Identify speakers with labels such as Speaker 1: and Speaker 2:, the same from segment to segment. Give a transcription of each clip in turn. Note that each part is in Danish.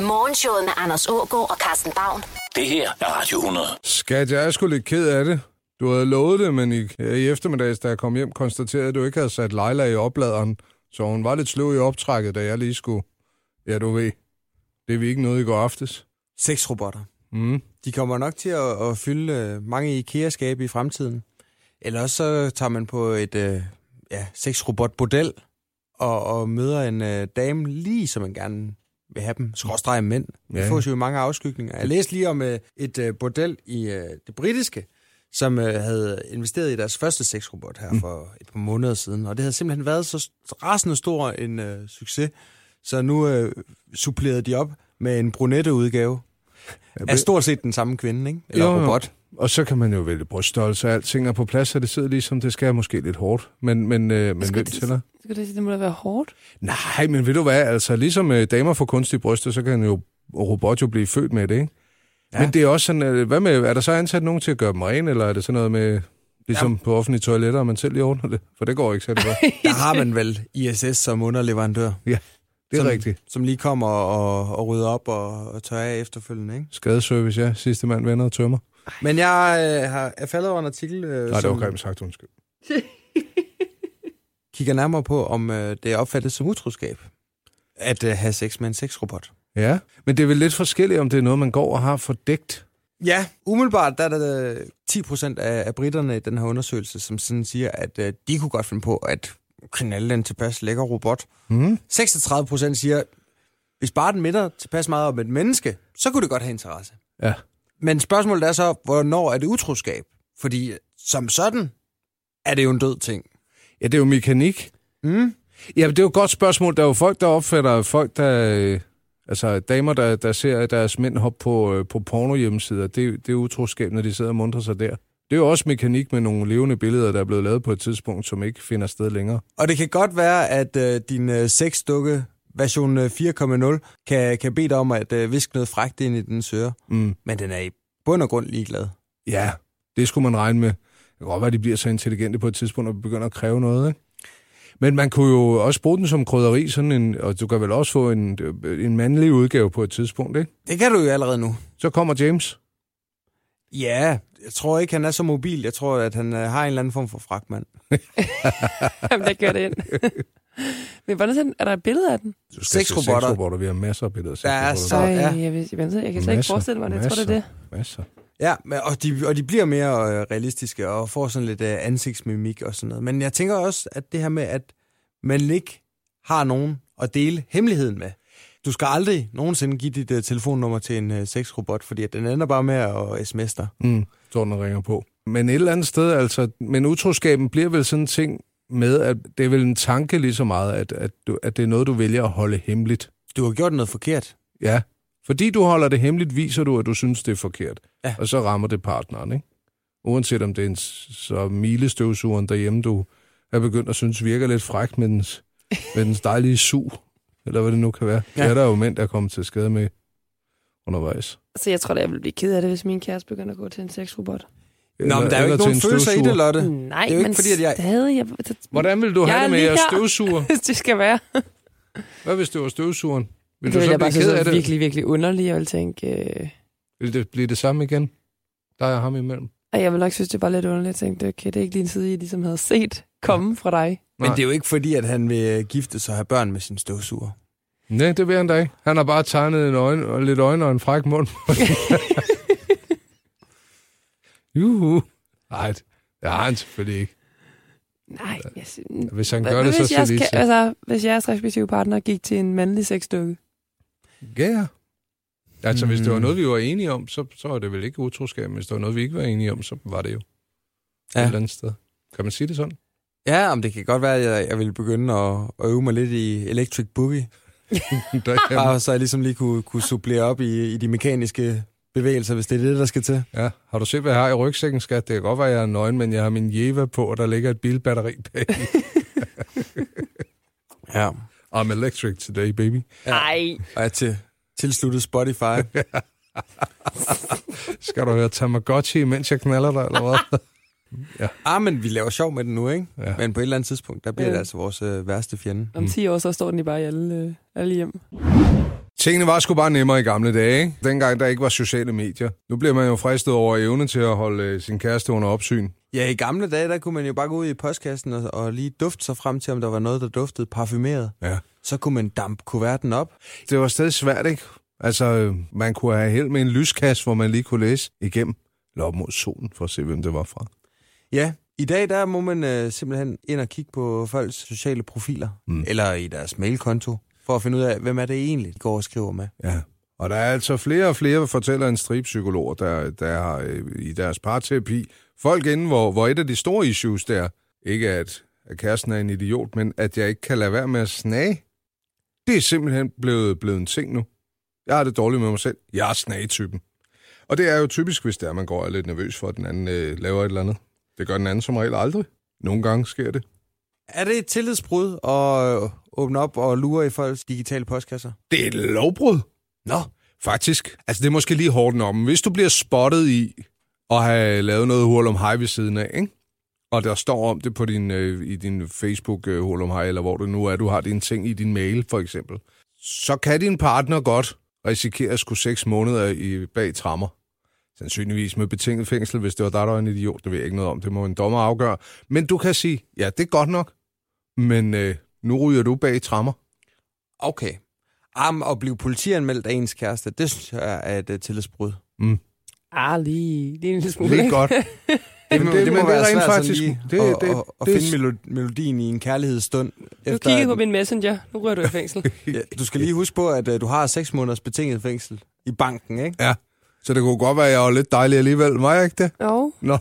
Speaker 1: Morgenshowet med Anders Ågaard og Carsten Baum.
Speaker 2: Det her er Radio 100.
Speaker 3: Skat, jeg er sgu lidt ked af det. Du havde lovet det, men i, i eftermiddags, da jeg kom hjem, konstaterede jeg, at du ikke havde sat Leila i opladeren. Så hun var lidt sløv i optrækket, da jeg lige skulle... Ja, du ved. Det vi ikke nåede i går aftes.
Speaker 4: Seks robotter.
Speaker 3: Mm.
Speaker 4: De kommer nok til at, at fylde øh, mange IKEA-skabe i fremtiden. Eller også så tager man på et øh, ja, sexrobot-bordel og, og møder en øh, dame lige som man gerne vil have dem. Skråstreger mænd. Ja.
Speaker 3: Ja.
Speaker 4: Det fås jo i mange afskygninger. Jeg læste lige om øh, et øh, bordel i øh, det britiske, som øh, havde investeret i deres første sexrobot her for et par måneder siden. Og det havde simpelthen været så rasende stor en øh, succes, så nu øh, supplerede de op med en brunette-udgave er stort set den samme kvinde, ikke? Eller
Speaker 3: Jo, jo.
Speaker 4: robot.
Speaker 3: Og så kan man jo vælge bryststørrelse og alting er på plads, så det sidder ligesom, det skal jeg måske lidt hårdt. Men, men, øh, men hvem tæller?
Speaker 5: Skal du sige, det må da være hårdt?
Speaker 3: Nej, men ved du hvad, altså ligesom øh, damer får kunstige bryster, så kan jo robot jo blive født med det, ikke? Ja. Men det er også sådan, øh, hvad med, er der så ansat nogen til at gøre dem rene, eller er det sådan noget med, ligesom ja. på offentlige toiletter, og man selv lige ordner det? For det går ikke særlig godt.
Speaker 4: Der har man vel ISS som underleverandør.
Speaker 3: ja, det er
Speaker 4: som,
Speaker 3: som... rigtigt.
Speaker 4: Som lige kommer og, og rydder op og, og tørrer af efterfølgende, ikke?
Speaker 3: Skadeservice, ja. Sidste mand vender og tømmer.
Speaker 4: Men jeg øh, har, er faldet over en artikel, øh,
Speaker 3: Nej, det var
Speaker 4: som
Speaker 3: grimt sagt, undskyld.
Speaker 4: kigger nærmere på, om øh, det er opfattet som utroskab at øh, have sex med en sexrobot.
Speaker 3: Ja, men det er vel lidt forskelligt, om det er noget, man går og har fordækt.
Speaker 4: Ja, umiddelbart der er der øh, 10 procent af, af britterne i den her undersøgelse, som sådan siger, at øh, de kunne godt finde på at knalde en tilpas lækker robot.
Speaker 3: Mm.
Speaker 4: 36 procent siger, hvis bare den minder tilpas meget om et menneske, så kunne det godt have interesse.
Speaker 3: Ja.
Speaker 4: Men spørgsmålet er så, hvornår er det utroskab? Fordi øh, som sådan er det jo en død ting.
Speaker 3: Ja, det er jo mekanik.
Speaker 4: Mm.
Speaker 3: Ja, det er jo et godt spørgsmål. Der er jo folk, der opfatter folk, der... øh, Altså damer, der, der ser deres mænd hoppe på, øh, på pornohjemmesider, det, det er utroskab, når de sidder og muntrer sig der. Det er jo også mekanik med nogle levende billeder, der er blevet lavet på et tidspunkt, som ikke finder sted længere.
Speaker 4: Og det kan godt være, at øh, din øh, sexdukke version øh, 4.0 kan, kan bede dig om at øh, viske noget fragt ind i den søre.
Speaker 3: Mm.
Speaker 4: Men den er i bund og grund ligeglad.
Speaker 3: Ja, det skulle man regne med. Det kan godt være, at de bliver så intelligente på et tidspunkt og begynder at kræve noget, ikke? Men man kunne jo også bruge den som krydderi, sådan en, og du kan vel også få en, øh, en mandlig udgave på et tidspunkt, ikke?
Speaker 4: Det kan du jo allerede nu.
Speaker 3: Så kommer James.
Speaker 4: Ja, jeg tror ikke, han er så mobil. Jeg tror, at han øh, har en eller anden form for fragtmand.
Speaker 5: Jamen, der gør det ind. Men hvordan sådan, er der et billede af den?
Speaker 3: Du skal se
Speaker 4: Sexrobotter.
Speaker 3: sexrobotter. Vi har masser af billeder af
Speaker 4: Der er
Speaker 3: sexrobotter.
Speaker 4: Så,
Speaker 5: Ej,
Speaker 4: ja.
Speaker 5: jeg, vil, jeg, ved- jeg kan slet ikke
Speaker 3: Masser,
Speaker 5: forestille mig det. Jeg tror, det er det.
Speaker 3: masser, Masser.
Speaker 4: Ja, men- og de, og de bliver mere øh, realistiske og får sådan lidt øh, ansigtsmimik og sådan noget. Men jeg tænker også, at det her med, at man ikke har nogen at dele hemmeligheden med. Du skal aldrig nogensinde give dit øh, telefonnummer til en øh, sexrobot, fordi at den ender bare med at sms dig.
Speaker 3: Mm, står den og ringer på. Men et eller andet sted, altså, men utroskaben bliver vel sådan en ting med, at det er vel en tanke lige så meget, at, at, du, at det er noget, du vælger at holde hemmeligt.
Speaker 4: Du har gjort noget forkert.
Speaker 3: Ja. Fordi du holder det hemmeligt, viser du, at du synes, det er forkert.
Speaker 4: Ja.
Speaker 3: Og så rammer det partneren, ikke? Uanset om det er en s- så milestøvsugeren derhjemme, du er begyndt at synes virker lidt frækt med dens, med dens dejlige su, eller hvad det nu kan være. Ja. Det
Speaker 4: Ja.
Speaker 3: er der jo mænd, der er kommet til skade med undervejs.
Speaker 5: Så jeg tror da, jeg ville blive ked af det, hvis min kæreste begynder at gå til en sexrobot.
Speaker 4: Nå, men der er jo
Speaker 3: eller
Speaker 4: ikke
Speaker 3: til
Speaker 4: nogen
Speaker 3: en
Speaker 4: følelser i
Speaker 3: støvsuger.
Speaker 4: det, Lotte.
Speaker 5: Nej,
Speaker 4: det er jo ikke
Speaker 5: men
Speaker 4: fordi, at jeg-
Speaker 5: stadig... Jeg,
Speaker 3: Hvordan vil du
Speaker 5: Jeg
Speaker 3: have
Speaker 5: er
Speaker 3: det med
Speaker 5: lige
Speaker 3: jeres
Speaker 5: her.
Speaker 3: støvsuger?
Speaker 5: Hvis det skal være.
Speaker 3: Hvad hvis det var støvsugeren? Vil
Speaker 5: det
Speaker 3: du
Speaker 5: ville
Speaker 3: så blive
Speaker 5: jeg bare
Speaker 3: ked af
Speaker 5: synes
Speaker 3: det?
Speaker 5: var virkelig, virkelig underligt. Jeg ville tænke... Øh...
Speaker 3: Vil det blive det samme igen? Der er ham imellem.
Speaker 5: Og jeg vil nok synes, det var lidt underligt. Jeg tænkte, okay, det er ikke din side, jeg ligesom havde set komme fra dig.
Speaker 4: Men
Speaker 3: Nej.
Speaker 4: det er jo ikke fordi, at han vil øh, gifte sig og have børn med sin støvsuger.
Speaker 3: Nej, det vil han da ikke. Han har bare tegnet en øjne, og lidt øjne og en fræk mund. Juhu. Nej, det det har han selvfølgelig ikke.
Speaker 5: Nej, jeg synes...
Speaker 3: Hvis han gør det, så
Speaker 5: hvis,
Speaker 3: selv
Speaker 5: jeres,
Speaker 3: lige
Speaker 5: ka- altså, hvis jeres respektive partner gik til en mandlig sexdukke.
Speaker 3: Ja. Altså, hvis det var
Speaker 5: Hmm.
Speaker 4: Mm.
Speaker 3: noget, vi var enige om, så, så var det vel ikke utroskab. Men hvis det var noget, vi ikke var enige om, så var det jo ja.
Speaker 4: Ja.
Speaker 3: et eller andet sted. Kan man sige det sådan?
Speaker 4: Ja, om det kan godt være, at jeg, jeg vil begynde at, at øve mig lidt i Electric Boogie.
Speaker 3: Der kan man.
Speaker 4: Bare så jeg ligesom lige kunne, kunne supplere op i, i de mekaniske bevægelser, hvis det er det, der skal til.
Speaker 3: Ja, har du set, hvad jeg har i rygsækken, skat? Det kan godt være, jeg er nøgen, men jeg har min Jeva på, og der ligger et bilbatteri bag.
Speaker 4: Ja.
Speaker 3: I'm electric today, baby.
Speaker 5: Nej.
Speaker 4: Og er til, tilsluttet Spotify.
Speaker 3: Skal du høre Tamagotchi, mens jeg knaller dig, eller hvad?
Speaker 4: ah, men vi laver sjov med den nu, ikke?
Speaker 3: Ja.
Speaker 4: Ja. Men på et eller andet tidspunkt, der bliver
Speaker 5: Ja.
Speaker 3: Mm.
Speaker 4: det altså vores øh, værste fjende.
Speaker 5: Om 10 år, så står den i bare i alle, øh, alle hjem.
Speaker 3: Tingene var sgu bare nemmere i gamle dage, ikke? Dengang der ikke var sociale medier. Nu bliver man jo fristet over evne til at holde øh, sin kæreste under opsyn.
Speaker 4: Ja, i gamle dage, der kunne man jo bare gå ud i postkassen og, og lige dufte sig frem til, om der var noget, der duftede parfumeret.
Speaker 3: Ja.
Speaker 4: Så kunne man dampe kuverten op.
Speaker 3: Det var stadig svært, ikke? Altså, øh, man kunne have held med en lyskasse, hvor man lige kunne læse igennem. Eller op mod solen, for at se, hvem det var fra.
Speaker 4: Ja, i dag der må man øh, simpelthen ind og kigge på folks sociale profiler, mm. eller i deres mailkonto, for at finde ud af, hvem er det egentlig, de går og skriver med.
Speaker 3: Ja. Og der er altså flere og flere, fortæller en stripsykologer, der, der har øh, i deres parterapi folk inde, hvor, hvor et af de store issues der, ikke at, at kæresten er en idiot, men at jeg ikke kan lade være med at snage. Det er simpelthen blevet, blevet en ting nu. Jeg har det dårligt med mig selv. Jeg er snagetypen. Og det er jo typisk, hvis det er, man går og er lidt nervøs for, at den anden øh, laver et eller andet. Det gør den anden som regel aldrig. Nogle gange sker det.
Speaker 4: Er det et tillidsbrud at øh, åbne op og lure i folks digitale postkasser?
Speaker 3: Det er et lovbrud.
Speaker 4: Nå,
Speaker 3: Faktisk. Altså, det er måske lige hårdt om. Hvis du bliver spottet i at have lavet noget hurl om hej ved siden af, ikke? og der står om det på din, øh, i din Facebook øh, hurl om hej, eller hvor det nu er, du har dine ting i din mail, for eksempel, så kan din partner godt risikere at skulle seks måneder i bag trammer. Sandsynligvis med betinget fængsel, hvis det var dig, der var en idiot. Det ved jeg ikke noget om. Det må en dommer afgøre. Men du kan sige, ja, det er godt nok, men øh, nu ryger du bag trammer.
Speaker 4: okay. Am at blive politianmeldt af ens kæreste, det synes jeg er et øh, tillidsbrud.
Speaker 5: Ah, lige, lige en lille smule.
Speaker 3: Lige
Speaker 5: ikke?
Speaker 3: godt. Jamen,
Speaker 4: må-
Speaker 3: det- men det er rent
Speaker 4: sådan
Speaker 3: faktisk-
Speaker 4: lige
Speaker 3: det-
Speaker 4: at-
Speaker 3: det-
Speaker 4: at- at
Speaker 3: det-
Speaker 4: finde melo- melodien i en kærlighedsstund.
Speaker 5: Du
Speaker 4: efter,
Speaker 5: kiggede
Speaker 4: at-
Speaker 5: på min messenger. Nu rører du i fængsel.
Speaker 4: Ja, du skal lige huske på, at øh, du har seks måneders betinget fængsel i banken, ikke?
Speaker 3: Ja, så det kunne godt være, at jeg var lidt dejlig alligevel. Var jeg ikke det?
Speaker 5: Jo,
Speaker 3: Nå,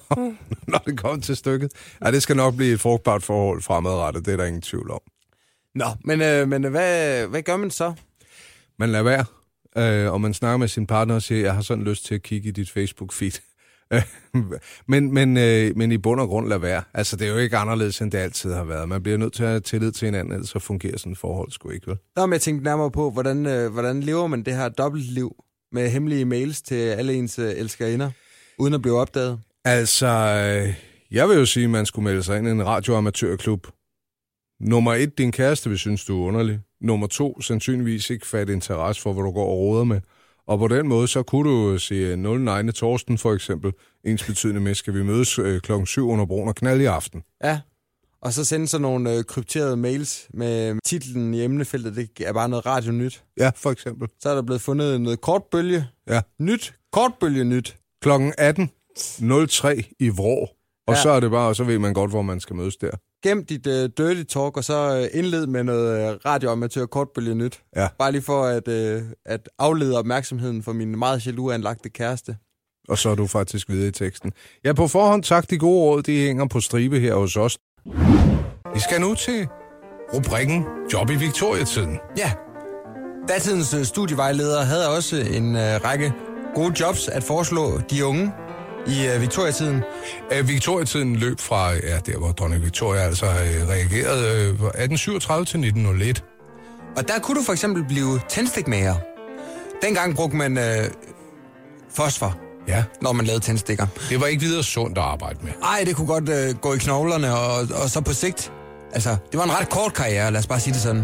Speaker 3: når det kom til stykket. Ja, det skal nok blive et frugtbart forhold fremadrettet, det er der ingen tvivl om.
Speaker 4: Nå, men, øh, men øh, hvad, hvad gør man så?
Speaker 3: Man lader være, øh, og man snakker med sin partner og siger, jeg har sådan lyst til at kigge i dit Facebook-feed. Øh, men, men, øh, men i bund og grund lad være. Altså, det er jo ikke anderledes, end det altid har været. Man bliver nødt til at have tillid til hinanden, ellers så fungerer sådan et forhold sgu ikke, vel?
Speaker 4: Nå, men jeg tænkte nærmere på, hvordan, øh, hvordan lever man det her dobbeltliv med hemmelige mails til alle ens øh, elskerinder, uden at blive opdaget?
Speaker 3: Altså, øh, jeg vil jo sige, at man skulle melde sig ind i en radioamatørklub. Nummer et, din kæreste vil synes, du er underlig. Nummer to, sandsynligvis ikke fat interesse for, hvad du går og råder med. Og på den måde, så kunne du jo se 09. Torsten for eksempel, ens betydende med, skal vi mødes øh, klokken 7 under broen og knalde i aften.
Speaker 4: Ja. Og så sende sådan nogle øh, krypterede mails med titlen i emnefeltet, det er bare noget radio nyt.
Speaker 3: Ja, for eksempel.
Speaker 4: Så er der blevet fundet noget kortbølge.
Speaker 3: Ja.
Speaker 4: Nyt. Kortbølge nyt.
Speaker 3: Klokken 18.03 i Vrå. Og
Speaker 4: Ja.
Speaker 3: ja. så er det bare, og så ved man godt, hvor man skal mødes der.
Speaker 4: Gem dit øh, dirty talk, og så øh, indled med noget øh, radioamatør kortbølge nyt.
Speaker 3: Ja.
Speaker 4: Bare lige for at, øh, at aflede opmærksomheden for min meget jaloux-anlagte kæreste.
Speaker 3: Og så er du faktisk videre i teksten. Ja, på forhånd tak. De gode råd, de hænger på stribe her hos os. Vi skal nu til rubrikken Job i Victoriatiden.
Speaker 4: Ja. Datidens øh, studievejledere havde også en øh, række gode jobs at foreslå de unge i øh, Victoria-tiden.
Speaker 3: Øh, Victoriatiden løb fra, ja, der hvor dronning Victoria altså øh, reagerede øh, fra 1837 til 1901.
Speaker 4: Og der kunne du for eksempel blive tændstikmager. Dengang brugte man øh, fosfor,
Speaker 3: Ja,
Speaker 4: når man lavede tændstikker.
Speaker 3: det var ikke videre sundt at arbejde med.
Speaker 4: Ej, det kunne godt øh, gå i knoglerne, og, og så på sigt. Altså, det var en ret kort karriere, lad os bare sige det sådan.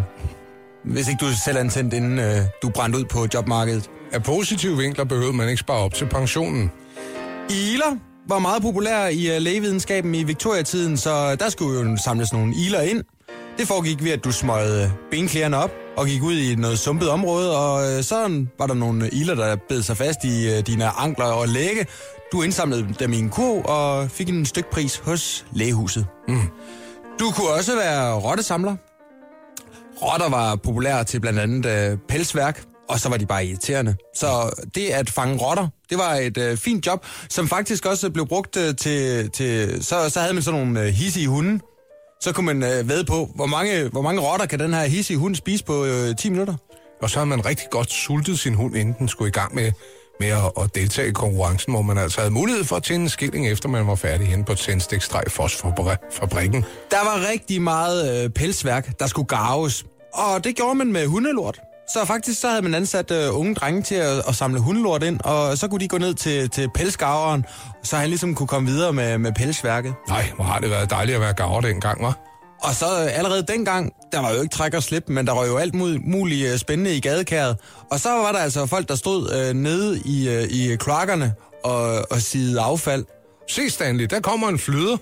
Speaker 4: Hvis ikke du selv er antændt, inden øh, du brændte ud på jobmarkedet.
Speaker 3: Af positive vinkler behøvede man ikke spare op til pensionen.
Speaker 4: Iler var meget populære i øh, lægevidenskaben i Victoria-tiden, så øh, der skulle jo samles nogle iler ind. Det foregik ved, at du smøgede øh, benklæderne op og gik ud i noget sumpet område, og øh, så var der nogle øh, iler, der bed sig fast i øh, dine ankler og læge. Du indsamlede dem i en kurv og fik en stykpris hos lægehuset. Mm. Du kunne også være rottesamler. Rotter var populære til blandt andet øh, pelsværk, og så var de bare irriterende. Så det at fange rotter, det var et øh, fint job, som faktisk også blev brugt øh, til... til så, så havde man sådan nogle øh, hissige hunde. Så kunne man øh, ved på, hvor mange, hvor mange rotter kan den her hissige hund spise på øh, 10 minutter?
Speaker 3: Og så havde man rigtig godt sultet sin hund, inden den skulle i gang med, med at, at deltage i konkurrencen, hvor man altså havde mulighed for at tjene en skilling, efter man var færdig hen på tændstikstreg fosforfabrikken.
Speaker 4: Der var rigtig meget øh, pelsværk, der skulle garves. Og det gjorde man med hundelort. Så faktisk så havde man ansat øh, unge drenge til at, at samle hundelort ind, og så kunne de gå ned til, til pelsgarveren, så han ligesom kunne komme videre med, med pelsværket.
Speaker 3: Nej, hvor har det været dejligt at være gaver dengang, var?
Speaker 4: Og så øh, allerede dengang, der var jo ikke træk og slip, men der var jo alt mul- muligt øh, spændende i gadekæret. Og så var der altså folk, der stod øh, nede i, øh, i kloakkerne og, og sidede affald.
Speaker 3: Se Stanley, der kommer en flyder.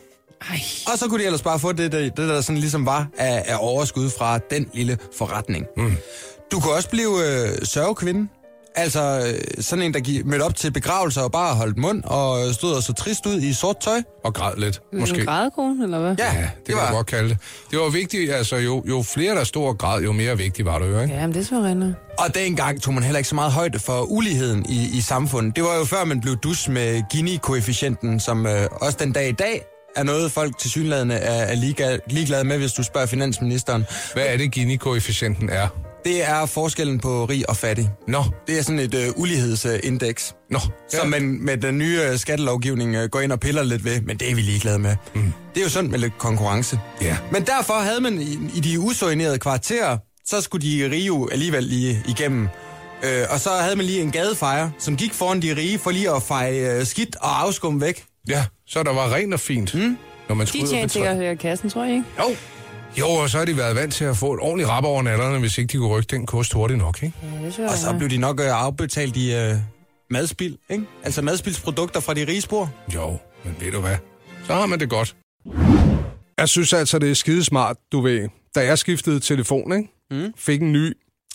Speaker 5: Ej,
Speaker 4: Og så kunne de ellers bare få det, der, det der sådan ligesom var af, af overskud fra den lille forretning. Mm. Du kunne også blive øh, sørgekvinde. Altså øh, sådan en, der gi- mødte op til begravelser og bare holdt mund og øh, stod og så trist ud i sort tøj.
Speaker 3: Og græd lidt,
Speaker 5: måske.
Speaker 3: måske.
Speaker 5: En grædekone, eller hvad?
Speaker 4: Ja,
Speaker 3: Ja, det, det var... kan man godt kalde det. Det var vigtigt, altså jo, jo flere der stod og græd, jo mere vigtig var det jo, ikke?
Speaker 5: Ja, men det er så rent.
Speaker 4: Og dengang tog man heller ikke så meget højde for uligheden i, i samfundet. Det var jo før, man blev dus med Gini-koefficienten, som øh, også den dag i dag er noget, folk til synlædende er, er liga, ligeglade med, hvis du spørger finansministeren.
Speaker 3: Hvad er det, Gini-koefficienten er?
Speaker 4: Det er forskellen på rig og fattig.
Speaker 3: Nå,
Speaker 4: Det er sådan et øh, ulighedsindeks,
Speaker 3: nå.
Speaker 4: som man med den nye øh, skattelovgivning øh, går ind og piller lidt ved, men det er vi ligeglade med. Mm. Det er jo sundt med lidt konkurrence.
Speaker 3: Ja.
Speaker 4: Men derfor havde man i, i de usoinerede kvarterer, så skulle de rige jo alligevel lige igennem. Øh, og så havde man lige en gadefejre, som gik foran de rige for lige at feje øh, skidt og afskum væk.
Speaker 3: Ja, så der var rent og fint,
Speaker 4: Hmm?
Speaker 3: mm. når man
Speaker 5: De
Speaker 3: skulle ud af
Speaker 5: tjener
Speaker 3: det træ.
Speaker 5: sikkert øh, kassen, tror jeg ikke.
Speaker 3: Jo. Jo, og så har de været vant til at få et ordentligt rap over nallerne, hvis ikke de kunne rykke den kost hurtigt nok, ikke?
Speaker 5: Ja, det tror jeg.
Speaker 4: Og så blev de nok øh, afbetalt i øh, madspild, ikke? Altså madspildsprodukter fra de rige spor.
Speaker 3: Jo, men ved du hvad? Så har man det godt. Jeg synes altså, det er skidesmart, du ved. Da jeg skiftede telefon, ikke? Mm. fik en ny,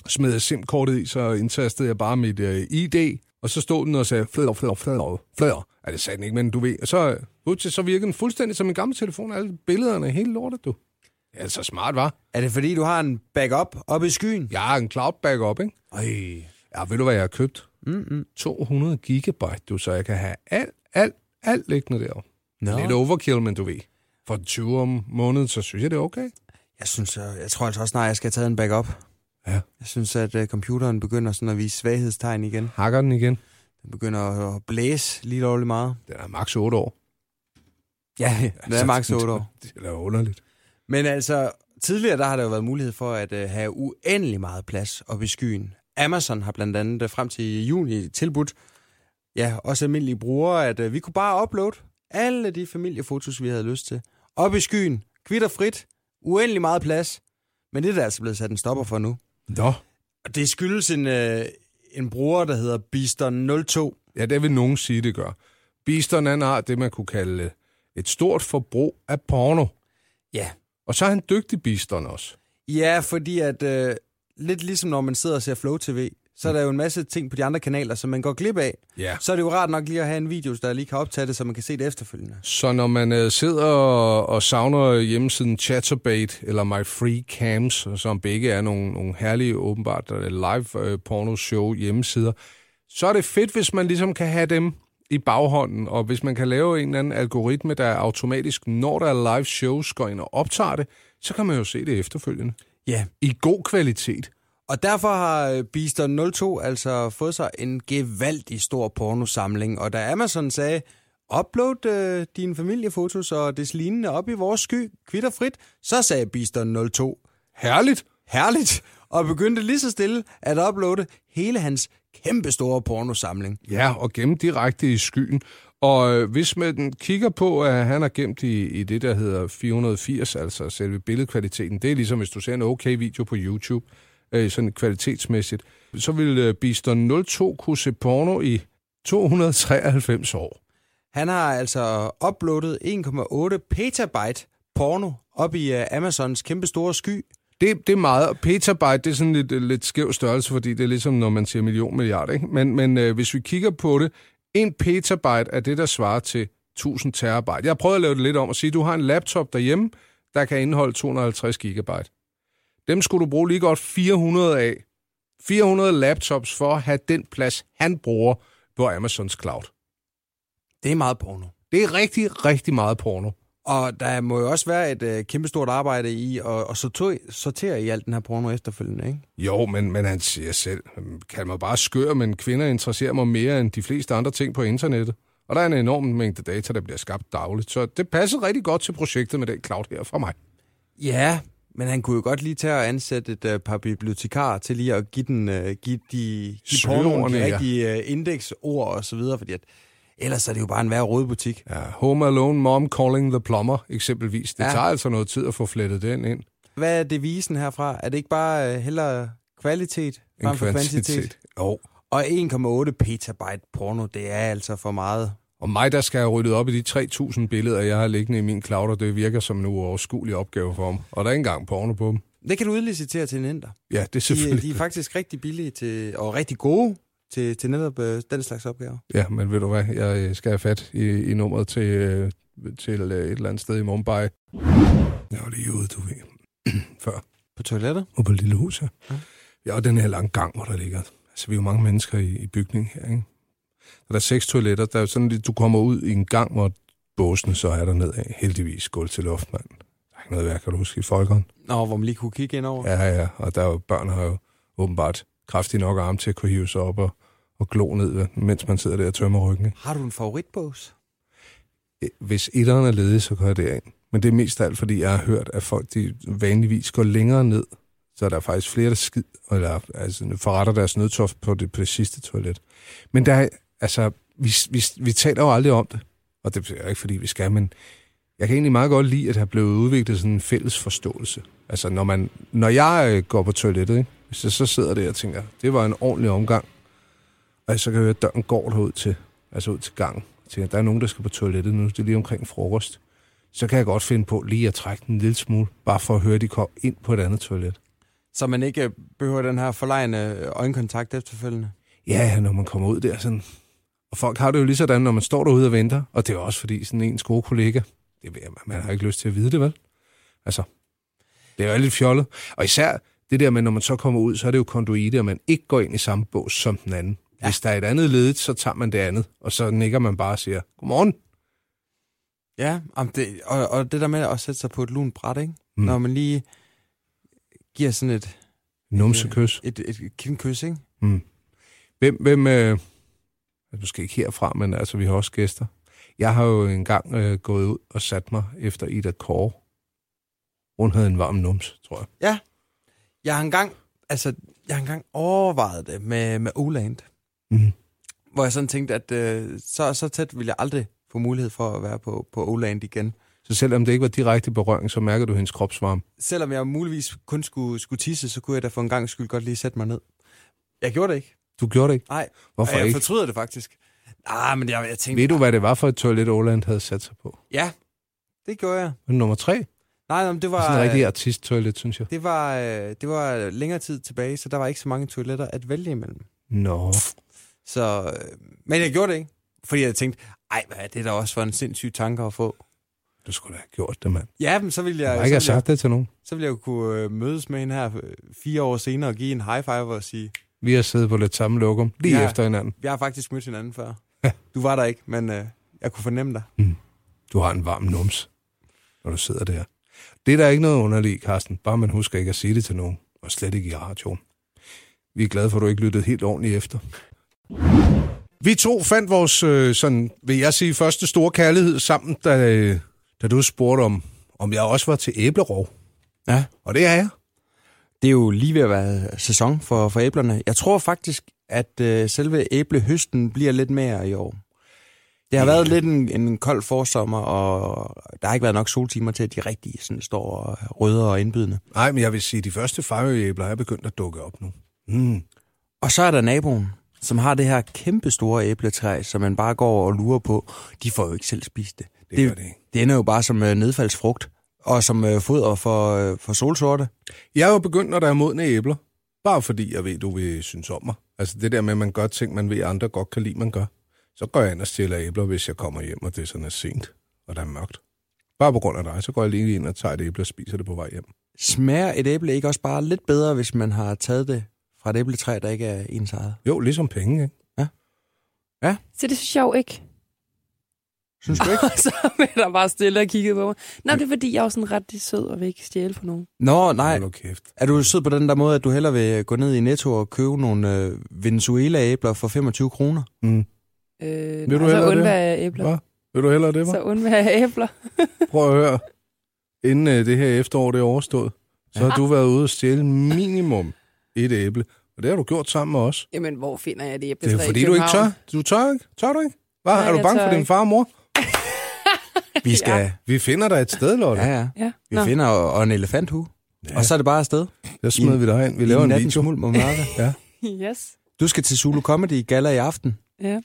Speaker 3: smed jeg SIM-kortet i, så indtastede jeg bare mit øh, ID, og så stod den og sagde, flader, flader, flader, flader. Ja, det sagde den ikke, men du ved. Og så, øh, ud til, så virkede den fuldstændig som en gammel telefon, alle billederne, hele lortet, du. Det er altså smart, var.
Speaker 4: Er det fordi, du har en backup oppe i skyen?
Speaker 3: Jeg har en cloud backup, ikke?
Speaker 4: Øj.
Speaker 3: Ja, ved du, hvad jeg har købt? Mm-mm. 200 gigabyte, du, så jeg kan have alt, alt, alt liggende derovre.
Speaker 4: Nå.
Speaker 3: Lidt overkill, men du ved. For 20 om måneden, så synes jeg, det er okay.
Speaker 4: Jeg synes, øh, jeg tror altså også snart, jeg skal have taget en backup.
Speaker 3: Ja.
Speaker 4: Jeg synes, at øh, computeren begynder sådan at vise svaghedstegn igen.
Speaker 3: Hakker den igen.
Speaker 4: Den begynder at- at blæse lige lovligt meget.
Speaker 3: Den er maks 8 år.
Speaker 4: Ja, det er maks 8 år.
Speaker 3: Det er da underligt.
Speaker 4: Men altså, tidligere der har der jo været mulighed for at øh, have uendelig meget plads oppe i skyen. Amazon har blandt andet øh, frem til juni tilbudt, ja, også almindelige brugere, at øh, vi kunne bare uploade alle de familiefotos, vi havde lyst til. Op i skyen, kvitt og frit, uendelig meget plads. Men det er der altså blevet sat en stopper for nu.
Speaker 3: Nå.
Speaker 4: Og det skyldes en, øh, en bruger, der hedder Bister02.
Speaker 3: Ja, det vil nogen sige, det gør. Beaston, han har det, man kunne kalde et stort forbrug af porno.
Speaker 4: Ja.
Speaker 3: Og så er han dygtig Beaston også.
Speaker 4: Ja, fordi at øh, lidt ligesom når man sidder og ser Flow TV, så er der jo en masse ting på de andre kanaler, som man går glip af.
Speaker 3: Ja.
Speaker 4: Så er det jo rart nok lige at have en video, der lige kan optage det, så man kan se det efterfølgende.
Speaker 3: Så når man øh, sidder og, og savner hjemmesiden Chatterbait eller My Free Cams, som begge er nogle, nogle herlige, åbenbart øh, live øh, porno-show hjemmesider, så er det fedt, hvis man ligesom kan have dem i baghånden, og hvis man kan lave en eller anden algoritme, der automatisk, når der er live shows, går ind og optager det, så kan man jo se det efterfølgende.
Speaker 4: Ja.
Speaker 3: I god kvalitet.
Speaker 4: Og derfor har øh, Bister 02 altså fået sig en gevaldig stor pornosamling. Og da Amazon sagde, upload øh, dine familiefotos og des lignende op i vores sky, kvitter frit, så sagde Bister 02,
Speaker 3: Herligt!
Speaker 4: herligt, og begyndte lige så stille at uploade hele hans kæmpestore pornosamling.
Speaker 3: Ja, og gemt direkte i skyen. Og øh, hvis man kigger på, at han er gemt i, i det, der hedder 480, altså selve billedkvaliteten, det er ligesom, hvis du ser en okay video på YouTube, øh, sådan kvalitetsmæssigt, så vil øh, Bister 02 kunne se porno i 293 år.
Speaker 4: Han har altså uploadet 1,8 petabyte porno op i øh, Amazons kæmpestore sky.
Speaker 3: Det, det er meget. og Petabyte, det er sådan lidt, lidt skæv størrelse, fordi det er ligesom, når man siger million milliard, ikke? Men, men øh, hvis vi kigger på det, en petabyte er det, der svarer til 1000 terabyte. Jeg har prøvet at lave det lidt om og sige, du har en laptop derhjemme, der kan indeholde 250 gigabyte. Dem skulle du bruge lige godt 400 af. 400 laptops for at have den plads, han bruger på Amazons cloud.
Speaker 4: Det er meget porno.
Speaker 3: Det er rigtig, rigtig meget porno.
Speaker 4: Og der må jo også være et øh, kæmpestort arbejde i at, at sortere, sortere i alt den her porno efterfølgende, ikke?
Speaker 3: Jo, men, men han siger selv, "Hmm, kald mig bare skør, men kvinder interesserer mig mere end de fleste andre ting på internettet. Og der er en enorm mængde data, der bliver skabt dagligt, så det passer rigtig godt til projektet med den cloud her fra mig.
Speaker 4: Ja, men han kunne jo godt lige tage og ansætte et øh, par bibliotekarer til lige at give, den, øh, give de, give pornoen
Speaker 3: Slørene,
Speaker 4: de
Speaker 3: ja.
Speaker 4: rigtige øh, indeksord og så videre, fordi at Ellers er det jo bare en værre rådbutik.
Speaker 3: Ja, Home Alone Mom Calling the Plumber, eksempelvis. Det
Speaker 4: Ja.
Speaker 3: ja. tager altså noget tid at få flettet den ind.
Speaker 4: Hvad er devisen herfra? Er det ikke bare uh, hellere kvalitet frem for kvantitet? kvantitet?
Speaker 3: Jo.
Speaker 4: Og 1,8 petabyte porno, det er altså for meget.
Speaker 3: Og mig, der skal have ryddet op i de 3.000 billeder, jeg har liggende i min cloud, og det virker som en uoverskuelig opgave for mig. Og der er ikke engang porno på dem.
Speaker 4: Det kan du udlicitere til en inder.
Speaker 3: Ja, det er
Speaker 4: De,
Speaker 3: selvfølgelig.
Speaker 4: de er faktisk rigtig billige til, og rigtig gode til, til netop øh, den slags opgaver.
Speaker 3: Ja, men ved du hvad, jeg øh, skal have fat i, i nummeret til, øh, til øh, et eller andet sted i Mumbai. Jeg var lige ude, du ved, før.
Speaker 4: På toilettet?
Speaker 3: Og på et lille hus her. Ja, og den her lange gang, hvor der ligger. Altså, vi er jo mange mennesker i, i bygningen her, ikke? Og der er seks toiletter. Der er jo sådan, lidt- du kommer ud i en gang, hvor båsene så er der nedad. Heldigvis gulv til luft, mand. Der er ikke noget værk, kan du huske, i folkeren.
Speaker 4: Nå, hvor man lige kunne kigge ind over.
Speaker 3: Ja, ja, og der er jo, børn har jo åbenbart kraftig nok arm til at kunne hive sig op og, og glo ned, mens man sidder der og tømmer ryggen.
Speaker 4: Har du en favoritbås?
Speaker 3: Øh, hvis etteren er ledig, så går jeg derind. Men det er mest af alt, fordi jeg har hørt, at folk de vanligvis går længere ned, så der er faktisk flere, der skid, eller altså, forretter deres nødtoft på det, på det sidste toilet. Men der er, altså, vi, vi, vi taler jo aldrig om det, og det er ikke, fordi vi skal, men jeg kan egentlig meget godt lide, at der er blevet udviklet sådan en fælles forståelse. Altså, når, man, når jeg øh, går på toilettet, ikke? Hvis jeg så sidder der og tænker, det var en ordentlig omgang, og så kan jeg høre, at døren går derud til, altså ud til gangen. Jeg tænker, der er nogen, der skal på toilettet nu, det er lige omkring frokost. Så kan jeg godt finde på lige at trække den en lille smule, bare for at høre, at de kom ind på et andet toilet.
Speaker 4: Så man ikke øh, behøver den her forlegne øjenkontakt efterfølgende.
Speaker 3: Ja, ja, når man kommer ud der sådan. Og folk har det jo lige sådan, når man står derude og venter. Og det er også fordi sådan ens gode kollega, det ved jeg, man har ikke lyst til at vide det, vel? Altså, det er jo lidt fjollet. Og især det der med, når man så kommer ud, så er det jo konduite, og man ikke går ind i samme bås som den anden. Ja. Hvis der er et andet ledigt, så tager man det andet, og så nikker man bare og siger, godmorgen.
Speaker 4: Ja, om det, og, og det der med at sætte sig på et lunt bræt, ikke? Mm.
Speaker 3: Mm.
Speaker 4: Når man lige giver sådan et,
Speaker 3: Numsekys.
Speaker 4: et, et kindkys, ikke?
Speaker 3: Hvem, hvem øh, altså, måske ikke herfra, men altså, vi har også gæster. Jeg har jo engang øh, gået ud og sat mig efter Ida Kåre. Hun havde en varm nums, tror jeg.
Speaker 4: Jeg har engang, altså, jeg har engang overvejet det med, med Oland,
Speaker 3: Mm.
Speaker 4: hvor jeg sådan tænkte, at øh, så, så tæt ville jeg aldrig få mulighed for at være på, på Oland igen.
Speaker 3: Så selvom det ikke var direkte berøring, så mærker du hendes kropsvarme.
Speaker 4: Selvom jeg muligvis kun skulle, skulle tisse, så kunne jeg da for en gang skyld godt lige sætte mig ned. Jeg gjorde det ikke.
Speaker 3: Du gjorde det ikke?
Speaker 4: Nej,
Speaker 3: Hvorfor
Speaker 4: og jeg
Speaker 3: ikke?
Speaker 4: fortryder det faktisk. Ah, men jeg, jeg tænkte...
Speaker 3: Ved du, hvad det var for et toilet, Åland havde sat sig på?
Speaker 4: Ja, det gjorde jeg.
Speaker 3: Men Nummer tre. Det
Speaker 4: Nej, nej men det
Speaker 3: er
Speaker 4: var...
Speaker 3: sådan en rigtig artisttoilet, synes jeg.
Speaker 4: Det var, øh, det var længere tid tilbage, så der var ikke så mange toiletter at vælge imellem.
Speaker 3: Nå.
Speaker 4: Så, øh, men jeg gjorde det ikke, fordi jeg tænkte, ej, hvad er det da også for en sindssyg tanke at få?
Speaker 3: Du skulle da have gjort det, mand.
Speaker 4: Ja, men så ville
Speaker 3: Jeg
Speaker 4: jeg,
Speaker 3: har ikke have
Speaker 4: så ville jeg,
Speaker 3: sagt det til nogen.
Speaker 4: så ville jeg jo kunne øh, mødes med hende her øh, fire år senere og give en high five og sige,
Speaker 3: Vi har siddet på lidt samme lokum, lige
Speaker 4: Ja.
Speaker 3: ja. efter hinanden.
Speaker 4: vi har faktisk mødt hinanden før.
Speaker 3: Ja.
Speaker 4: Du var der ikke, men øh, jeg kunne fornemme dig.
Speaker 3: Du har en varm numse, når du sidder der. Det er der ikke noget underligt i, Carsten. Bare man husker ikke at sige det til nogen, og slet ikke i radioen. Vi er glade for, at du ikke lyttede helt ordentligt efter. Vi to fandt vores, øh, sådan, vil jeg sige, første store kærlighed sammen, da, øh, da du spurgte om, om jeg også var til æblerov.
Speaker 4: Ja.
Speaker 3: Og det er jeg.
Speaker 4: Det er jo lige ved at være sæson for, for æblerne. Jeg tror faktisk, at øh, selve æblehøsten bliver lidt mere i år. Det har
Speaker 3: Ja.
Speaker 4: været lidt en, en kold forsommer, og der har ikke været nok soltimer til, at de rigtig sådan står og er røde og indbydende.
Speaker 3: Nej, men jeg vil sige, at de første fejøæbler er begyndt at dukke op nu. Mm.
Speaker 4: Og så er der naboen, som har det her kæmpe store æbletræ, som man bare går og lurer på. De får jo ikke selv spist det.
Speaker 3: Det gør det ikke.
Speaker 4: det ender jo bare som øh, nedfaldsfrugt, og som øh, foder for, øh, for solsorte.
Speaker 3: Jeg er jo begyndt, når der er modne æbler. Bare fordi jeg ved, du vil synes om mig. Altså det der med, at man gør ting, man ved, at andre godt kan lide, man gør. Så går jeg ind og stjæler æbler, hvis jeg kommer hjem, og det er sådan er sent, og der er mørkt. Bare på grund af dig, så går jeg lige ind og tager et æble og spiser det på vej hjem.
Speaker 4: Smager et æble ikke også bare lidt bedre, hvis man har taget det fra et æbletræ, der ikke er ens eget?
Speaker 3: Jo, ligesom penge, ikke?
Speaker 5: Så det synes jeg jo ikke.
Speaker 4: Synes du ikke?
Speaker 5: Og så var der bare stille og kiggede på mig. Nej, det er fordi, jeg er jo sådan ret sød og vil ikke stjæle for nogen.
Speaker 4: Nå, nej.
Speaker 3: Hold nu kæft.
Speaker 4: Er du sød på den der måde, at du hellere vil gå ned i Netto og købe nogle øh, Venezuela-æbler for 25 kroner?
Speaker 5: Øh,
Speaker 3: Vil du
Speaker 5: nej, så
Speaker 3: hellere det?
Speaker 5: undværer jeg æbler.
Speaker 3: Hvad? Vil du hellere det, var?
Speaker 5: Så undværer jeg æbler.
Speaker 3: Prøv at høre. Inden øh, det her efterår det er overstået, så har du været ude og stjæle minimum et æble. Og det har du gjort sammen med os.
Speaker 5: Jamen, hvor finder jeg det æbletræ
Speaker 3: Det er
Speaker 5: i
Speaker 3: fordi, du ikke tør.
Speaker 5: København?
Speaker 3: Du tør ikke? Tør du ikke? Hvad,
Speaker 5: Nej,
Speaker 3: er du
Speaker 5: jeg
Speaker 3: bange
Speaker 5: tør
Speaker 3: for din
Speaker 5: ikke.
Speaker 3: far og mor?
Speaker 4: Vi skal...
Speaker 3: Vi finder dig et sted, Lotte.
Speaker 4: Ja, ja.
Speaker 5: Ja.
Speaker 4: Vi
Speaker 5: Nå.
Speaker 4: finder og, og en elefanthue. Ja. Og så er det bare afsted.
Speaker 3: Der smider
Speaker 4: I-
Speaker 3: vi dig hen. Vi laver
Speaker 4: I
Speaker 3: en
Speaker 4: nattens
Speaker 3: video.
Speaker 4: Mulm og mørke.
Speaker 3: Ja.
Speaker 5: Yes.
Speaker 4: Du skal til Zulu Comedy Gala i aften.
Speaker 5: Ja.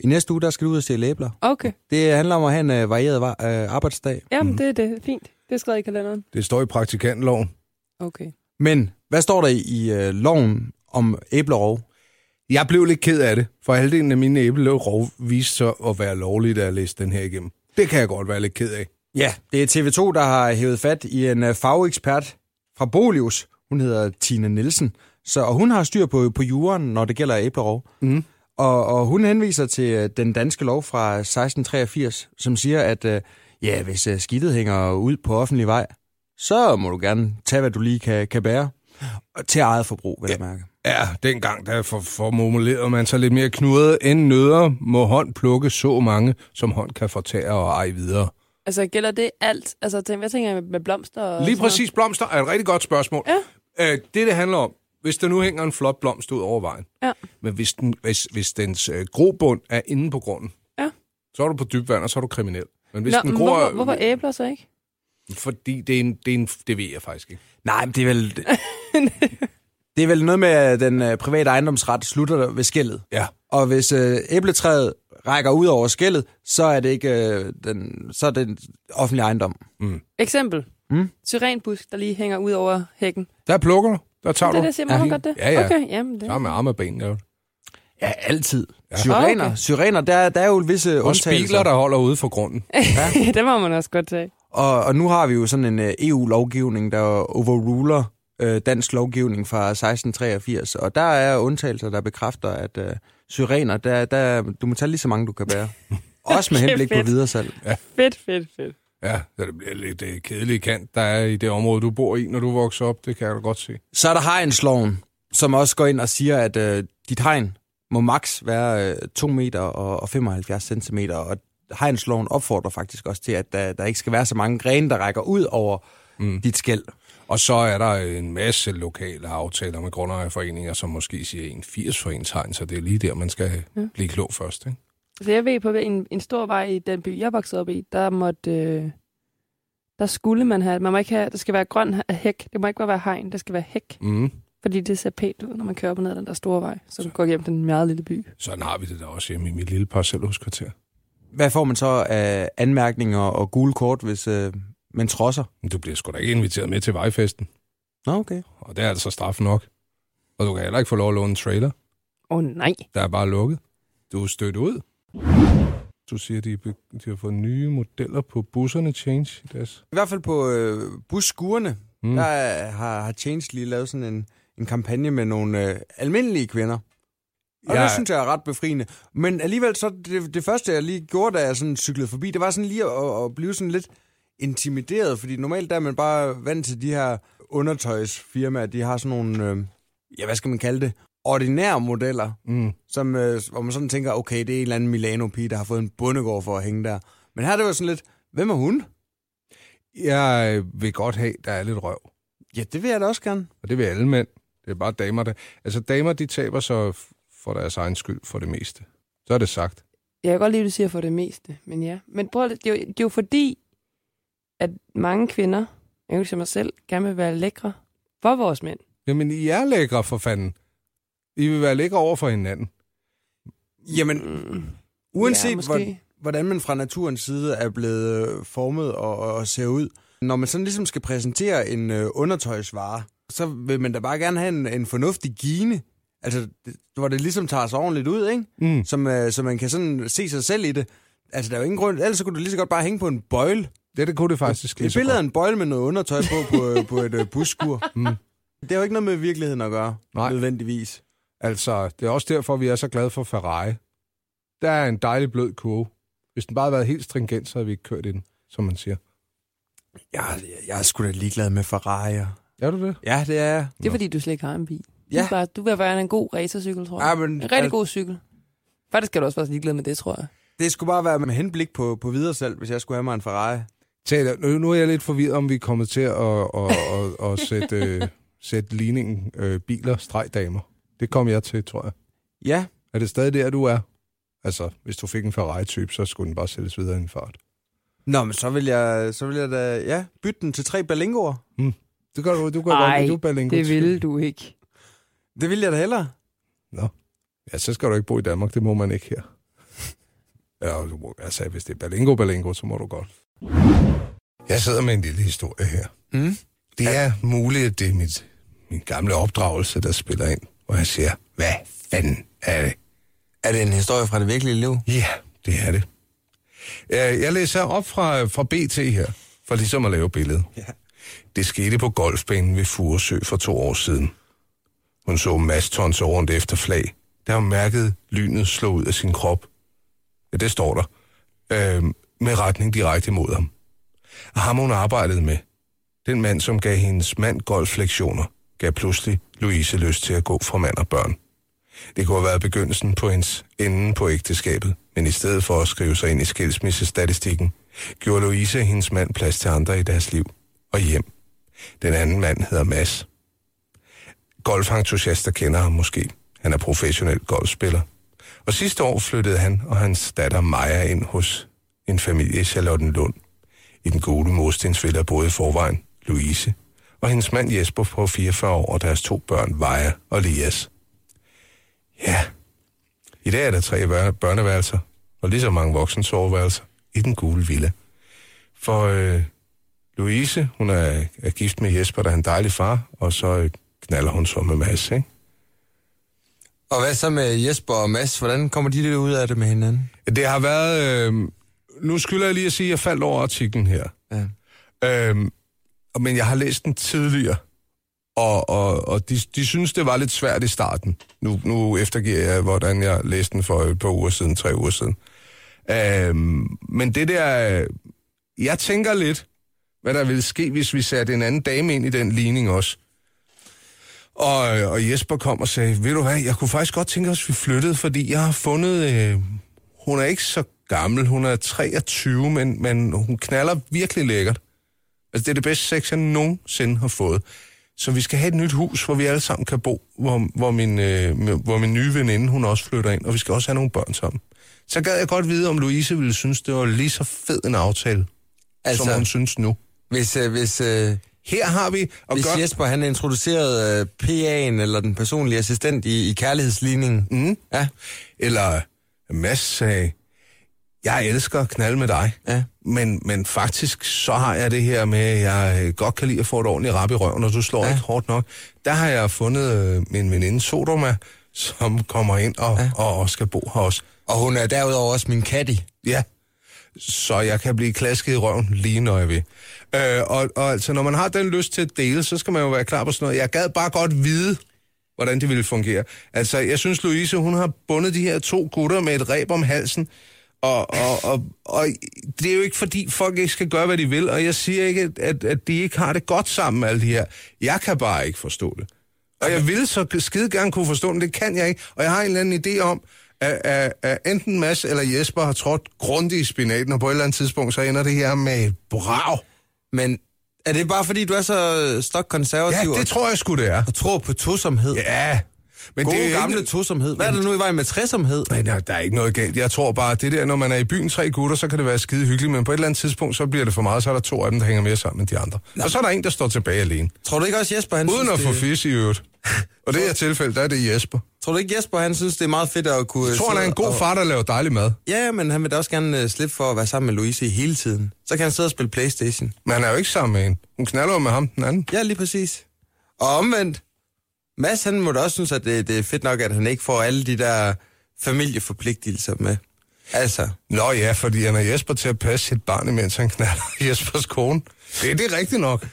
Speaker 4: I næste uge, der skal du ud og stjæle æbler.
Speaker 5: Okay.
Speaker 4: Det handler om at have en øh, varieret var, øh, arbejdsdag.
Speaker 5: Jamen,
Speaker 3: Mm.
Speaker 5: det er det. Fint. Det er skrevet i kalenderen.
Speaker 3: Det står i praktikantloven.
Speaker 5: Okay.
Speaker 4: Men hvad står der i, i øh, loven om æblerov?
Speaker 3: Jeg blev lidt ked af det, for halvdelen af mine æblelov viste sig at være lovlige, da jeg læste den her igennem. Det kan jeg godt være lidt ked af.
Speaker 4: Ja, det er TV2, der har hævet fat i en øh, fagekspert fra Bolius. Hun hedder Tina Nielsen. Så, og hun har styr på, på juren, når det gælder æblerov.
Speaker 3: Mm.
Speaker 4: Og, og hun henviser til øh, den danske lov fra 1683, som siger, at øh, ja, hvis øh, skidtet hænger ud på offentlig vej, så må du gerne tage, hvad du lige kan, kan bære. Og til eget forbrug, vil jeg mærke.
Speaker 3: Ja, dengang der for, formulerede man sig lidt mere knudret end nødder, må hånd plukke så mange, som hånd kan fortære og ej videre.
Speaker 5: Altså, gælder det alt? Altså, tænk, hvad tænker jeg med, med blomster og
Speaker 3: Lige
Speaker 5: sådan noget?
Speaker 3: præcis blomster er et rigtig godt spørgsmål. Ja. Øh, det, det handler om, hvis der nu hænger en flot blomst ud over vejen,
Speaker 5: Ja.
Speaker 3: men hvis, den, hvis, hvis dens øh, grobund er inde på grunden,
Speaker 5: Ja.
Speaker 3: så er du på dybvand, og så er du kriminel. Men hvis
Speaker 5: Nå,
Speaker 3: den
Speaker 5: men
Speaker 3: gror...
Speaker 5: hvorfor, hvorfor æbler så ikke?
Speaker 3: Fordi det er en... Det, er en, det ved jeg faktisk ikke.
Speaker 4: Nej, men det er vel... det er vel noget med, at den øh, private ejendomsret slutter ved skældet.
Speaker 3: Ja.
Speaker 4: Og hvis øh, æbletræet rækker ud over skældet, så er det ikke øh, den, så er det offentlig ejendom.
Speaker 5: Eksempel.
Speaker 3: Hmm?
Speaker 4: Mm.
Speaker 5: Syrenbusk, der lige hænger ud over hækken.
Speaker 3: Der plukker du. Der tager
Speaker 5: Det er
Speaker 3: du.
Speaker 5: det, siger man
Speaker 4: Ja.
Speaker 5: ja. godt det?
Speaker 3: Ja, ja.
Speaker 5: Okay, jamen det.
Speaker 3: Der er med arme og ben, ja.
Speaker 4: Ja, altid. Ja. Syrener,
Speaker 5: Okay.
Speaker 4: syrener der, der er jo visse
Speaker 3: Og
Speaker 4: undtagelser.
Speaker 3: spiler, der holder ude for grunden.
Speaker 5: det må man også godt tage.
Speaker 4: Og, og nu har vi jo sådan en øh, EU-lovgivning, der overruler øh, dansk lovgivning fra 1683. Og der er undtagelser, der bekræfter, at øh, syrener, der, der, du må tage lige så mange, du kan bære. Også med
Speaker 5: Okay,
Speaker 4: henblik på
Speaker 5: fedt.
Speaker 4: videresalg.
Speaker 5: Fedt, fedt, fedt.
Speaker 3: Ja, så det bliver lidt øh, kedelige kant, der er i det område, du bor i, når du vokser op. Det kan jeg da godt se.
Speaker 4: Så er der hegnsloven, som også går ind og siger, at øh, dit hegn må maks være øh, 2 meter og, og 75 centimeter, og hegnsloven opfordrer faktisk også til, at der, der ikke skal være så mange grene, der rækker ud over mm. dit skæld.
Speaker 3: Og så er der en masse lokale aftaler med grundejerforeninger, som måske siger en 80 for ens hegn, så det er lige der, man skal ja. blive klog først. Ikke?
Speaker 5: Så Altså, jeg ved på en, en stor vej i den by, jeg voksede op i, der måtte... Øh, der skulle man have... Man må ikke have... Der skal være grøn he- hæk. Det må ikke bare være hegn. Det skal være hæk.
Speaker 3: Mm.
Speaker 5: Fordi det ser pænt ud, når man kører op og ned ad den der store vej, som går gennem den meget lille by.
Speaker 3: Sådan har vi det der også hjemme i mit lille parcelhuskvarter.
Speaker 4: Hvad får man så af anmærkninger og gule kort, hvis øh, man trodser?
Speaker 3: Men du bliver sgu da ikke inviteret med til vejfesten,
Speaker 4: Nå, okay.
Speaker 3: og det er altså straf nok. Og du kan heller ikke få lov at låne en trailer,
Speaker 5: Åh oh, nej.
Speaker 3: der er bare lukket. Du er stødt ud. Du siger, de, er be- de har fået nye modeller på busserne Change. i Deres.
Speaker 4: I hvert fald på øh, busskurene, mm.
Speaker 3: Mm.
Speaker 4: der øh, har, har Change lige lavet sådan en, en kampagne med nogle øh, almindelige kvinder. Og ja.
Speaker 3: Ja.
Speaker 4: det synes jeg er ret befriende. Men alligevel, så det, det første, jeg lige gjorde, da jeg sådan cyklede forbi, det var sådan lige at, at blive sådan lidt intimideret, fordi normalt der er man bare vant til de her undertøjsfirmaer, de har sådan nogle, øh, ja, hvad skal man kalde det, ordinære modeller,
Speaker 3: Mm.
Speaker 4: som, øh, hvor man sådan tænker, okay, det er en eller anden Milano-pige, der har fået en bondegård for at hænge der. Men her er det var sådan lidt, hvem er hun?
Speaker 3: Jeg vil godt have, der er lidt røv.
Speaker 4: Ja, det vil jeg da også gerne.
Speaker 3: Og det vil alle mænd. Det er bare damer, der... Altså, damer, de taber så f- for deres egen skyld for det meste. Så er det sagt.
Speaker 5: Jeg kan godt lide, at du siger for det meste, men ja. Men prøv, at- det, er jo, det er jo fordi, at mange kvinder, inklusive mig selv, gerne vil være lækre for vores mænd.
Speaker 3: Jamen, I er lækre for fanden. I vil være lækre over for hinanden.
Speaker 4: Jamen, uanset
Speaker 5: Ja,
Speaker 4: ja,
Speaker 5: måske.
Speaker 4: hvor, hvordan man fra naturens side er blevet øh, formet og, og ser ud, når man sådan ligesom skal præsentere en øh, undertøjsvare, så vil man da bare gerne have en, en fornuftig gine, altså, det- hvor det ligesom tager sig ordentligt ud, ikke?
Speaker 3: Mm.
Speaker 4: Som, øh, så man kan sådan se sig selv i det. Altså, der er jo ingen grund, ellers så kunne du lige så godt bare hænge på en bøjle.
Speaker 3: Det, det kunne det faktisk lige
Speaker 4: Et
Speaker 3: så
Speaker 4: billede af
Speaker 3: godt.
Speaker 4: en bøjle med noget undertøj på på, øh, på et øh, busskur. Mm. Det har jo ikke noget med virkeligheden at gøre,
Speaker 3: Nej.
Speaker 4: nødvendigvis.
Speaker 3: Altså, det er også derfor, vi er så glade for Ferrari. Der er en dejlig blød kurve. Hvis den bare havde været helt stringent, så havde vi ikke kørt i den, som man siger.
Speaker 4: Jeg, jeg, jeg er sgu da ligeglad med Ferrari'er.
Speaker 3: Er du det?
Speaker 4: Ja, det er jeg.
Speaker 5: Det er fordi, du slet ikke har en bil. Ja. Du,
Speaker 4: Ja.
Speaker 5: er bare, du vil være en god racercykel, tror jeg.
Speaker 4: Ja, men- altså,
Speaker 5: en rigtig god cykel. Faktisk skal du også være ligeglad med det, tror jeg.
Speaker 4: Det skulle bare være med henblik på, på videre salg, hvis jeg skulle have mig en Ferrari.
Speaker 3: Taler, nu, nu er jeg lidt forvirret, om vi er kommet til at, at, at, at sætte, øh, sætte ligningen øh, biler-damer. Det kom jeg til, tror jeg.
Speaker 4: Ja,
Speaker 3: Er det stadig der, du er? Altså, hvis du fik en Ferrari-type, så skulle den bare sælges videre i en fart.
Speaker 4: Nå, men så vil jeg, så vil jeg da, ja, bytte den til tre berlingoer.
Speaker 3: Det gør du, du gør
Speaker 5: Ej,
Speaker 3: godt, lide, du er Berlingo.
Speaker 5: Det ville du ikke.
Speaker 4: Det vil jeg da hellere.
Speaker 3: Ja, så skal du ikke bo i Danmark, det må man ikke her. Ja, du må, altså, hvis det er Berlingo, Berlingo, så må du godt. Jeg sidder med en lille historie her.
Speaker 4: Mm.
Speaker 3: Det er muligt, at det er mit, min gamle opdragelse, der spiller ind, hvor jeg siger, hvad fanden er det?
Speaker 4: Er det en historie fra det virkelige liv?
Speaker 3: Ja, det er det. Øh, Jeg læser op fra, fra BT her, for ligesom at lave billedet. Ja. Det skete på golfbanen ved Furesø for to år siden. Hun så Mads tonse rundt efter flag, da hun mærkede lynet slå ud af sin krop. Ja, det står der. Øh, med retning direkte mod ham. Og ham hun arbejdede med, den mand, som gav hendes mand golflektioner, gav pludselig Louise lyst til at gå fra mand og børn. Det kunne have været begyndelsen på hendes enden på ægteskabet, men i stedet for at skrive sig ind i skilsmissestatistikken, gjorde Louise og hendes mand plads til andre i deres liv og hjem. Den anden mand hedder Mads. Golfentusiaster kender ham måske. Han er professionel golfspiller. Og sidste år flyttede han og hans datter Maja ind hos en familie i Charlottenlund. I den gode murstensvilla boede i forvejen Louise og hendes mand Jesper på 44 år og deres to børn Maja og Elias. Ja. I dag er der tre vær- børneværelser og lige så mange voksne soveværelser i den gule villa. For øh, Louise, hun er, er gift med Jesper, der er en dejlig far, og så øh, knaller hun så med Mads, ikke?
Speaker 4: Og hvad så med Jesper og Mads? Hvordan kommer de lidt ud af det med hinanden?
Speaker 3: Det har været... Øh, nu skylder jeg lige at sige, at jeg faldt over artiklen her.
Speaker 4: Ja.
Speaker 3: Øhm, og- men jeg har læst den tidligere, og, og, og de, de synes, det var lidt svært i starten. Nu, nu eftergiver jeg, hvordan jeg læste den for et par uger siden, tre uger siden. Øhm, men det der... øh, Jeg tænker lidt, hvad der ville ske, hvis vi satte en anden dame ind i den ligning også. Og, og Jesper kom og sagde, ved du hvad, jeg kunne faktisk godt tænke os, at vi flyttede, fordi jeg har fundet... Øh, hun er ikke så gammel, hun er 23, men, men hun knaller virkelig lækkert. Altså, det er det bedste sex, jeg nogensinde har fået. Så vi skal have et nyt hus, hvor vi alle sammen kan bo, hvor, hvor, min, øh, hvor min nye veninde, hun også flytter ind, og vi skal også have nogle børn sammen. Så gad jeg godt vide, om Louise ville synes, det var lige så fed en aftale, altså, som hun
Speaker 4: Altså,
Speaker 3: synes nu.
Speaker 4: hvis, øh, hvis, øh,
Speaker 3: Her har vi... Og
Speaker 4: hvis
Speaker 3: gør,
Speaker 4: Jesper han introducerede øh, PA'en eller den personlige assistent i, i kærlighedsligningen.
Speaker 3: Mm.
Speaker 4: Ja,
Speaker 3: Eller Mads sagde, jeg elsker at knalde med dig,
Speaker 4: ja.
Speaker 3: men, men faktisk så har jeg det her med, at jeg øh, godt kan lide at få et ordentligt rap i røven, og du slår ja.
Speaker 4: Ja.
Speaker 3: ikke hårdt nok. Der har jeg fundet øh, min veninde Sodoma, som kommer ind og, ja. og, og skal bo her også.
Speaker 4: Og hun er derudover også min caddy.
Speaker 3: Ja, så jeg kan blive klasket i røven lige når jeg vil. Øh, og, og altså, når man har den lyst til at dele, så skal man jo være klar på sådan noget. Jeg gad bare godt vide, hvordan det ville fungere. Altså, jeg synes, Louise, hun har bundet de her to gutter med et reb om halsen, og, og, og, og det er jo ikke, fordi folk ikke skal gøre, hvad de vil, og jeg siger ikke, at, at de ikke har det godt sammen, alle de her. Jeg kan bare ikke forstå det. Og jeg vil så skide gerne kunne forstå det, men det kan jeg ikke. Og jeg har en eller anden idé om, at, at, at enten Mads eller Jesper har trådt grundigt i spinaten, og på et eller andet tidspunkt, så ender det her med et brav.
Speaker 4: Men er det bare fordi, du er så øh, stokkonservativ
Speaker 3: Ja, det
Speaker 4: og-
Speaker 3: tror jeg sgu, det er.
Speaker 4: og tror på tosomhed?
Speaker 3: Ja. Men
Speaker 4: Gode
Speaker 3: det er jo
Speaker 4: gamle
Speaker 3: ikke...
Speaker 4: tosomhed. Hvad er der nu i vejen med træsomhed?
Speaker 3: Nej, nej, der er ikke noget galt. Jeg tror bare, at det der, når man er i byen tre gutter, så kan det være skide hyggeligt, men på et eller andet tidspunkt, så bliver det for meget, så er der to af dem, der hænger mere sammen end de andre. Og så er der en, der står tilbage alene.
Speaker 4: Tror du ikke også, Jesper han
Speaker 3: Uden
Speaker 4: synes,
Speaker 3: at få
Speaker 4: det,
Speaker 3: fis i øvrigt. Og det her tilfælde, der er det Jesper.
Speaker 4: Tror du ikke, Jesper han synes, det er meget fedt at kunne...
Speaker 3: Jeg tror, han er en god far, der laver dejlig mad.
Speaker 4: Ja, men han vil da også gerne øh, slippe for at være sammen med Louise i hele tiden. Så kan han sidde og spille Playstation.
Speaker 3: Men han er jo ikke sammen med hende. Hun knaller jo med ham, den anden.
Speaker 4: Ja, lige præcis. Og omvendt, Mads han må da også synes, at det, det er fedt nok, at han ikke får alle de der familieforpligtelser med. Altså,
Speaker 3: Nå ja, fordi han er Jesper til at passe sit barn, imens han knaller Jespers kone. Det er det er rigtigt nok.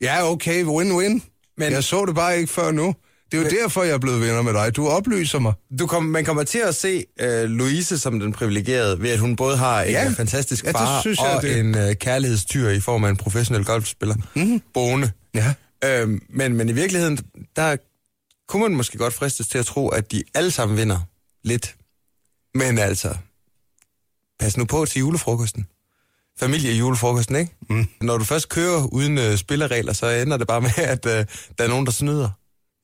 Speaker 3: Ja, okay, win-win. Men...
Speaker 4: Men-
Speaker 3: Jeg så det bare ikke før nu. Det er jo Men... derfor, jeg er blevet venner med dig. Du oplyser mig.
Speaker 4: du kom, man kommer til at se øh, Louise som den privilegerede, ved at hun både har en
Speaker 3: Ja.
Speaker 4: øh, fantastisk
Speaker 3: Ja, det
Speaker 4: far
Speaker 3: synes jeg,
Speaker 4: og
Speaker 3: det-
Speaker 4: en øh, kærlighedstyr i form af en professionel golfspiller. Mm-hmm. Boende.
Speaker 3: Mhm. Ja.
Speaker 4: Øhm, men, men i virkeligheden, der kunne man måske godt fristes til at tro, at de alle sammen vinder lidt. Men altså, pas nu på til julefrokosten. Familie i julefrokosten, ikke? Mm. Når du først kører uden øh, spilleregler, så ender det bare med, at øh, der er nogen, der snyder.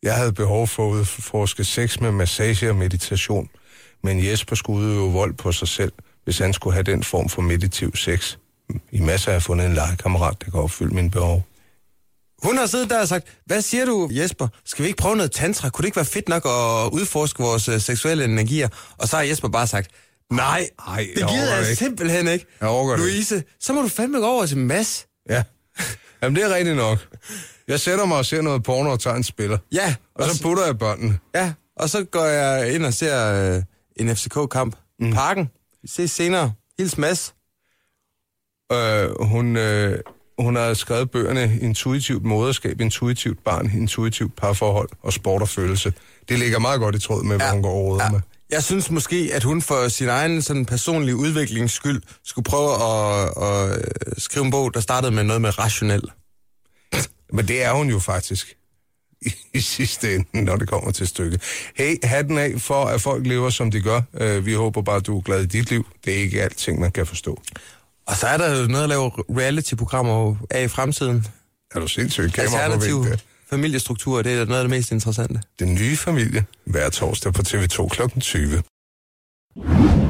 Speaker 3: Jeg havde behov for at udforske sex med massage og meditation. Men Jesper skulle udøve vold på sig selv, hvis han skulle have den form for meditiv sex. I masser har jeg fundet en legekammerat, der kan opfylde mine behov.
Speaker 4: Hun har siddet der og sagt, hvad siger du, Jesper? Skal vi ikke prøve noget tantra? Kunne det ikke være fedt nok at udforske vores øh, seksuelle energier? Og så har Jesper bare sagt, nej,
Speaker 3: Ej, jeg
Speaker 4: det gider
Speaker 3: orker
Speaker 4: jeg
Speaker 3: det ikke.
Speaker 4: simpelthen ikke.
Speaker 3: Jeg orker det
Speaker 4: Louise, så må du fandme gå over til Mads.
Speaker 3: Ja. Jamen, det er rigtigt nok. Jeg sætter mig og ser noget porno og tager en spiller.
Speaker 4: Ja,
Speaker 3: Og så putter jeg børnene.
Speaker 4: ja, og så går jeg ind og ser øh, en FCK-kamp. Mm. Parken. Vi ses senere. Hils Mads.
Speaker 3: Øh, hun, øh, hun har skrevet bøgerne Intuitivt moderskab, Intuitivt barn, Intuitivt parforhold og sport og følelse. Det ligger meget godt i tråd med, hvad hun går overhovedet ja. med.
Speaker 4: Jeg synes måske, at hun for sin egen sådan, personlige udviklings skyld skulle prøve at, at øh, skrive en bog, der startede med noget med rationel.
Speaker 3: Men det er hun jo faktisk i sidste ende, når det kommer til stykket. Hey, hatten af for, at folk lever, som de gør. Øh, vi håber bare, du er glad i dit liv. Det er ikke alting, man kan forstå.
Speaker 4: Og så er der jo noget at lave reality-programmer af i fremtiden.
Speaker 3: Er du sindssyg? Kamera på
Speaker 4: Alternativ
Speaker 3: væggen.
Speaker 4: familiestruktur, det er noget af det mest interessante.
Speaker 3: Den nye familie, hver torsdag på TV2 kl. 20.